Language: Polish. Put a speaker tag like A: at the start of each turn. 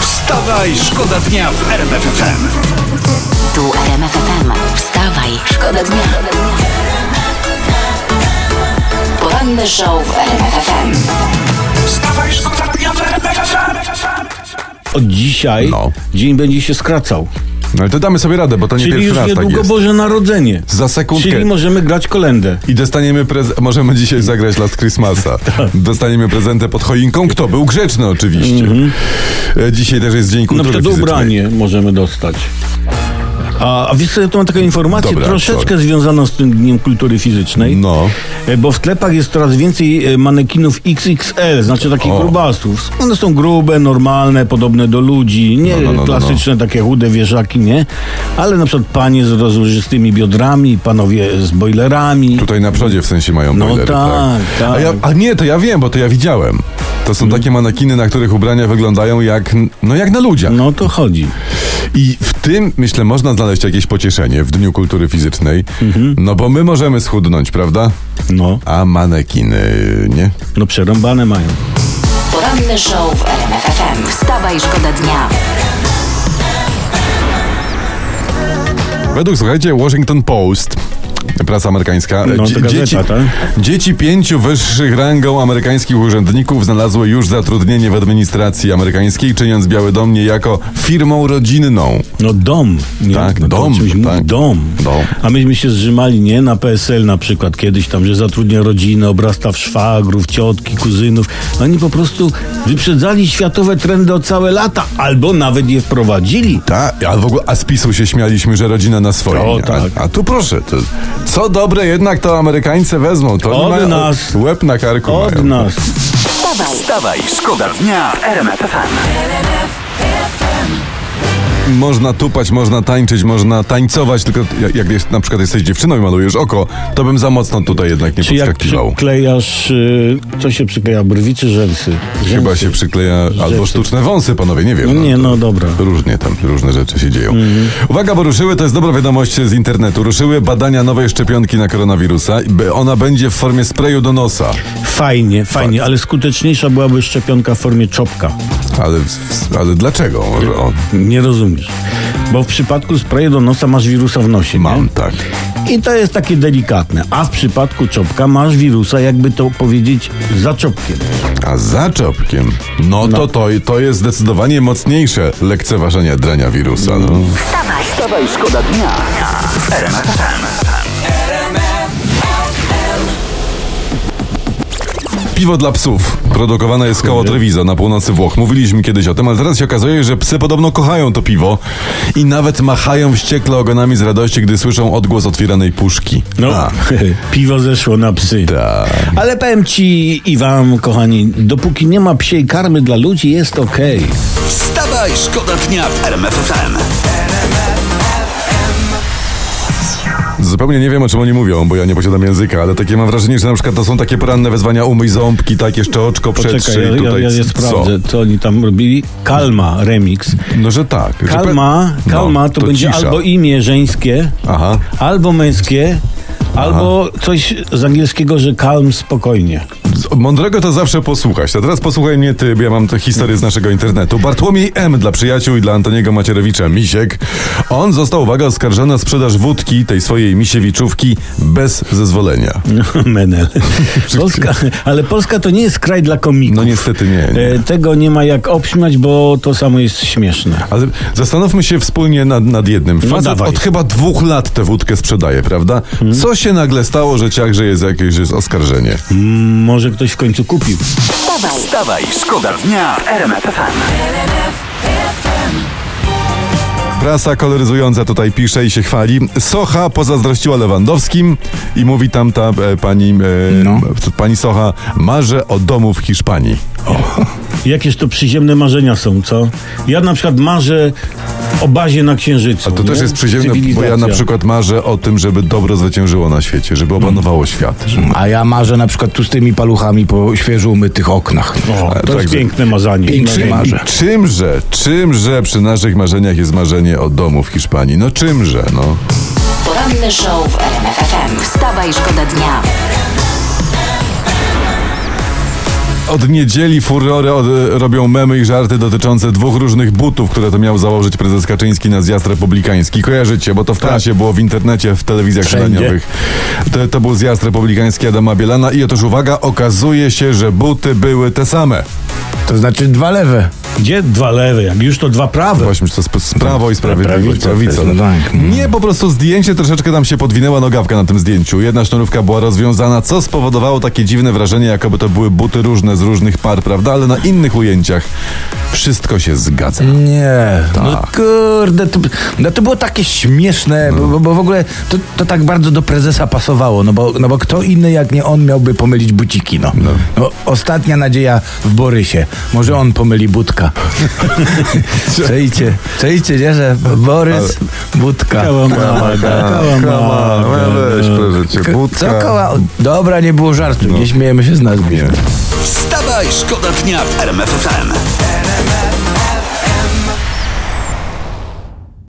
A: Wstawaj, szkoda dnia w RMFFM.
B: Tu RMF FM. Wstawaj, szkoda dnia. Poranny show w RMF FM.
A: Wstawaj, szkoda dnia w RMFFM.
C: Od dzisiaj
D: No.
C: dzień będzie się skracał.
D: No ale to damy sobie radę, bo to nie
C: Czyli
D: pierwszy
C: już
D: raz tak
C: niedługo
D: jest.
C: Boże Narodzenie.
D: Za sekundkę.
C: Czyli możemy grać kolędę.
D: I dostaniemy prez... Możemy dzisiaj zagrać Last Christmasa.
C: Tak.
D: Dostaniemy prezentę pod choinką. Kto był grzeczny oczywiście.
C: Mhm.
D: E, Dzisiaj też jest Dzień
C: Na
D: Kultury
C: przykład
D: Fizycznej.
C: ubranie możemy dostać. A, a wiesz co, ja tu mam taką informację
D: Dobra,
C: troszeczkę
D: sorry.
C: związaną z tym Dniem Kultury Fizycznej.
D: No.
C: E, Bo w sklepach jest coraz więcej e, manekinów XXL, znaczy takich
D: O.
C: grubasów. One są grube, normalne, podobne do ludzi, nie
D: No, no, no, no,
C: klasyczne, takie chude wieżaki, nie? Ale na przykład panie z rozłożystymi biodrami, panowie z boilerami.
D: Tutaj na przodzie w sensie mają
C: No
D: boilery,
C: tak, tak. Mhm.
D: A, ja, a nie, to ja wiem, bo to ja widziałem. To są takie manekiny, na których ubrania wyglądają jak, no jak na ludziach.
C: No to chodzi. Mhm.
D: I w tym, myślę, można znaleźć jakieś pocieszenie w Dniu Kultury Fizycznej.
C: Mhm.
D: No bo my możemy schudnąć, prawda?
C: No,
D: A manekiny, nie?
C: no przerąbane mają.
B: Poranny show w RMF FM. Wstawaj, szkoda dnia.
D: Według, słuchajcie, Washington Post, prasa amerykańska,
C: No, to
D: dzie-
C: gazeta,
D: dzieci,
C: tak?
D: dzieci pięciu wyższych rangą amerykańskich urzędników znalazły już zatrudnienie w administracji amerykańskiej, czyniąc Biały Dom niejako firmą rodzinną.
C: No dom, nie?
D: Tak,
C: no, to
D: dom,
C: o czymś mówi,
D: tak.
C: dom.
D: Dom.
C: A myśmy się zrzymali, nie? Na PSL na przykład kiedyś tam, że zatrudnia rodzinę, obrasta w szwagrów, ciotki, kuzynów. Oni po prostu wyprzedzali światowe trendy o całe lata, albo nawet je wprowadzili.
D: Ta, a w ogóle a z PiSu się śmialiśmy, że rodzina na swoim.
C: O,
D: nie?
C: tak.
D: a, a tu proszę, to, co dobre jednak to Amerykańcy wezmą. To oni
C: Od
D: mają
C: nas.
D: Łeb na karku
C: Od
D: mają. tak.
C: nas.
B: Wstawaj.
A: Wstawaj, szkoda dnia w RMFFM.
D: Można tupać, można tańczyć, można tańcować, tylko jak, jak jest, na przykład jesteś dziewczyną i malujesz oko, to bym za mocno tutaj jednak nie
C: Czy jak
D: podskakiwał.
C: przyklejasz, y, co się przykleja, brwi czy rzęsy? Rzęsy.
D: Chyba się tak. przykleja albo sztuczne wąsy, panowie, nie wiem.
C: No nie, Mhm.
D: to
C: no dobra.
D: Różnie tam, różne rzeczy się dzieją. Uwaga, bo ruszyły, to jest dobra wiadomość z internetu. Ruszyły badania nowej szczepionki na koronawirusa. i be- Ona będzie w formie sprayu do nosa.
C: Fajnie, fajnie, ale skuteczniejsza byłaby szczepionka w formie czopka.
D: Ale, w- w- ale dlaczego? Może on...
C: Nie rozumiesz. Bo w przypadku sprayu do nosa masz wirusa w nosie.
D: Mam,
C: Nie?
D: tak.
C: I to jest takie delikatne. A w przypadku czopka masz wirusa, jakby to powiedzieć, za czopkiem.
D: A za czopkiem, no, to, to to jest zdecydowanie mocniejsze lekceważenie drania wirusa. No.
B: Wstawaj.
A: Wstawaj, szkoda dnia w RMFFM.
D: Piwo dla psów produkowane jest koło Treviso na północy Włoch. Mówiliśmy kiedyś o tym, ale teraz się okazuje, że psy podobno kochają to piwo i nawet machają wściekle ogonami z radości, gdy słyszą odgłos otwieranej puszki.
C: No,
D: A,
C: piwo zeszło na psy.
D: tak.
C: Ale powiem ci i wam, kochani, dopóki nie ma psiej karmy dla ludzi, jest okej.
A: Wstawaj, szkoda dnia w RMFFM.
D: Zupełnie nie wiem, o czym oni mówią, bo ja nie posiadam języka, ale takie mam wrażenie, że na przykład to są takie poranne wezwania umyj ząbki, tak jeszcze oczko przetrzyj.
C: Poczekaj, ja, ja,
D: tutaj
C: ja je
D: co?
C: sprawdzę, co oni tam robili. Kalma, remix.
D: No, że tak. że pe-
C: Kalma,
D: No,
C: kalma to, będzie
D: cisza.
C: albo imię żeńskie,
D: Aha.
C: albo męskie, albo coś z angielskiego, że calm spokojnie.
D: Z- Mądrego to zawsze posłuchać. A teraz posłuchaj mnie ty, bo ja mam tę historię z naszego internetu. Bartłomiej M dla przyjaciół i dla Antoniego Macierewicza Misiek. On został, uwaga, oskarżony o sprzedaż wódki, tej swojej misiewiczówki, bez zezwolenia.
C: No, Menel. Polska, ale Polska to nie jest kraj dla komików.
D: No niestety nie. nie.
C: E, Tego nie ma jak obśmiać, bo to samo jest śmieszne.
D: Ale zastanówmy się wspólnie nad, nad jednym.
C: No
D: Facet
C: dawaj. Mhm.
D: od chyba dwóch lat tę wódkę sprzedaje, prawda? Co się nagle stało, że ciachże jest jakieś jest oskarżenie?
C: Mhm. Może ktoś w końcu kupił.
B: Wstawaj.
A: Wstawaj, szkoda dnia w RMFFM.
D: Prasa koloryzująca tutaj pisze i się chwali. Socha pozazdrościła Lewandowskim i mówi tam ta e, pani, e,
C: No.
D: p- pani Socha, marzę o domu w Hiszpanii.
C: Jakież to przyziemne marzenia są, co? Ja na przykład marzę o bazie na Księżycu.
D: A to
C: nie?
D: też jest przyziemne, bo ja
C: No.
D: na
C: Cywilizacja.
D: przykład marzę o tym, żeby dobro zwyciężyło na świecie, żeby
C: Mhm.
D: opanowało świat. Żeby...
E: A ja marzę na przykład tłustymi paluchami po świeżo umytych oknach.
C: O, to
D: Także-
C: jest piękne No, marzenie.
E: Piękne
C: Marzenie.
E: marzenie.
D: I czymże, czymże przy naszych marzeniach jest marzenie o domu w Hiszpanii? No czymże, no.
B: Poranny show w RMF FM. Wstawaj, szkoda dnia.
D: od niedzieli furorę od, e, robią memy i żarty dotyczące dwóch różnych butów, które to miał założyć prezes Kaczyński na zjazd republikański. Kojarzycie, bo to w prasie było, w internecie, w telewizjach
E: Wszędzie.
D: śniadaniowych. To, to był zjazd republikański Adama Bielana i otóż uwaga, okazuje się, że buty były te same.
E: To znaczy dwa lewe.
C: Gdzie dwa lewe? Jak już to dwa prawe.
D: Właśnie, czy to sp- z Prawo i Sprawiedliwość.
E: Prawica, to jest, no tak.
D: Nie, po prostu zdjęcie troszeczkę tam się podwinęła nogawka na tym zdjęciu. Jedna sznurówka była rozwiązana, co spowodowało takie dziwne wrażenie, jakoby to były buty różne z różnych par, prawda? Ale na innych ujęciach wszystko się zgadza.
E: Nie, no kurde, to, no to było takie śmieszne, bo, bo w ogóle to, to tak bardzo do prezesa pasowało, no bo, no bo kto inny jak nie on miałby pomylić buciki, no. no. ostatnia nadzieja w Borysie, może on pomyli budka. Przejdźcie, przejdźcie, nie, że Borys, budka.
C: Kałamada.
D: proszę cię,
E: Co koła? Dobra, No. nie było żartu, nie śmiejemy się z nazwy.
A: Wstawaj, szkoda dnia w RMFFM.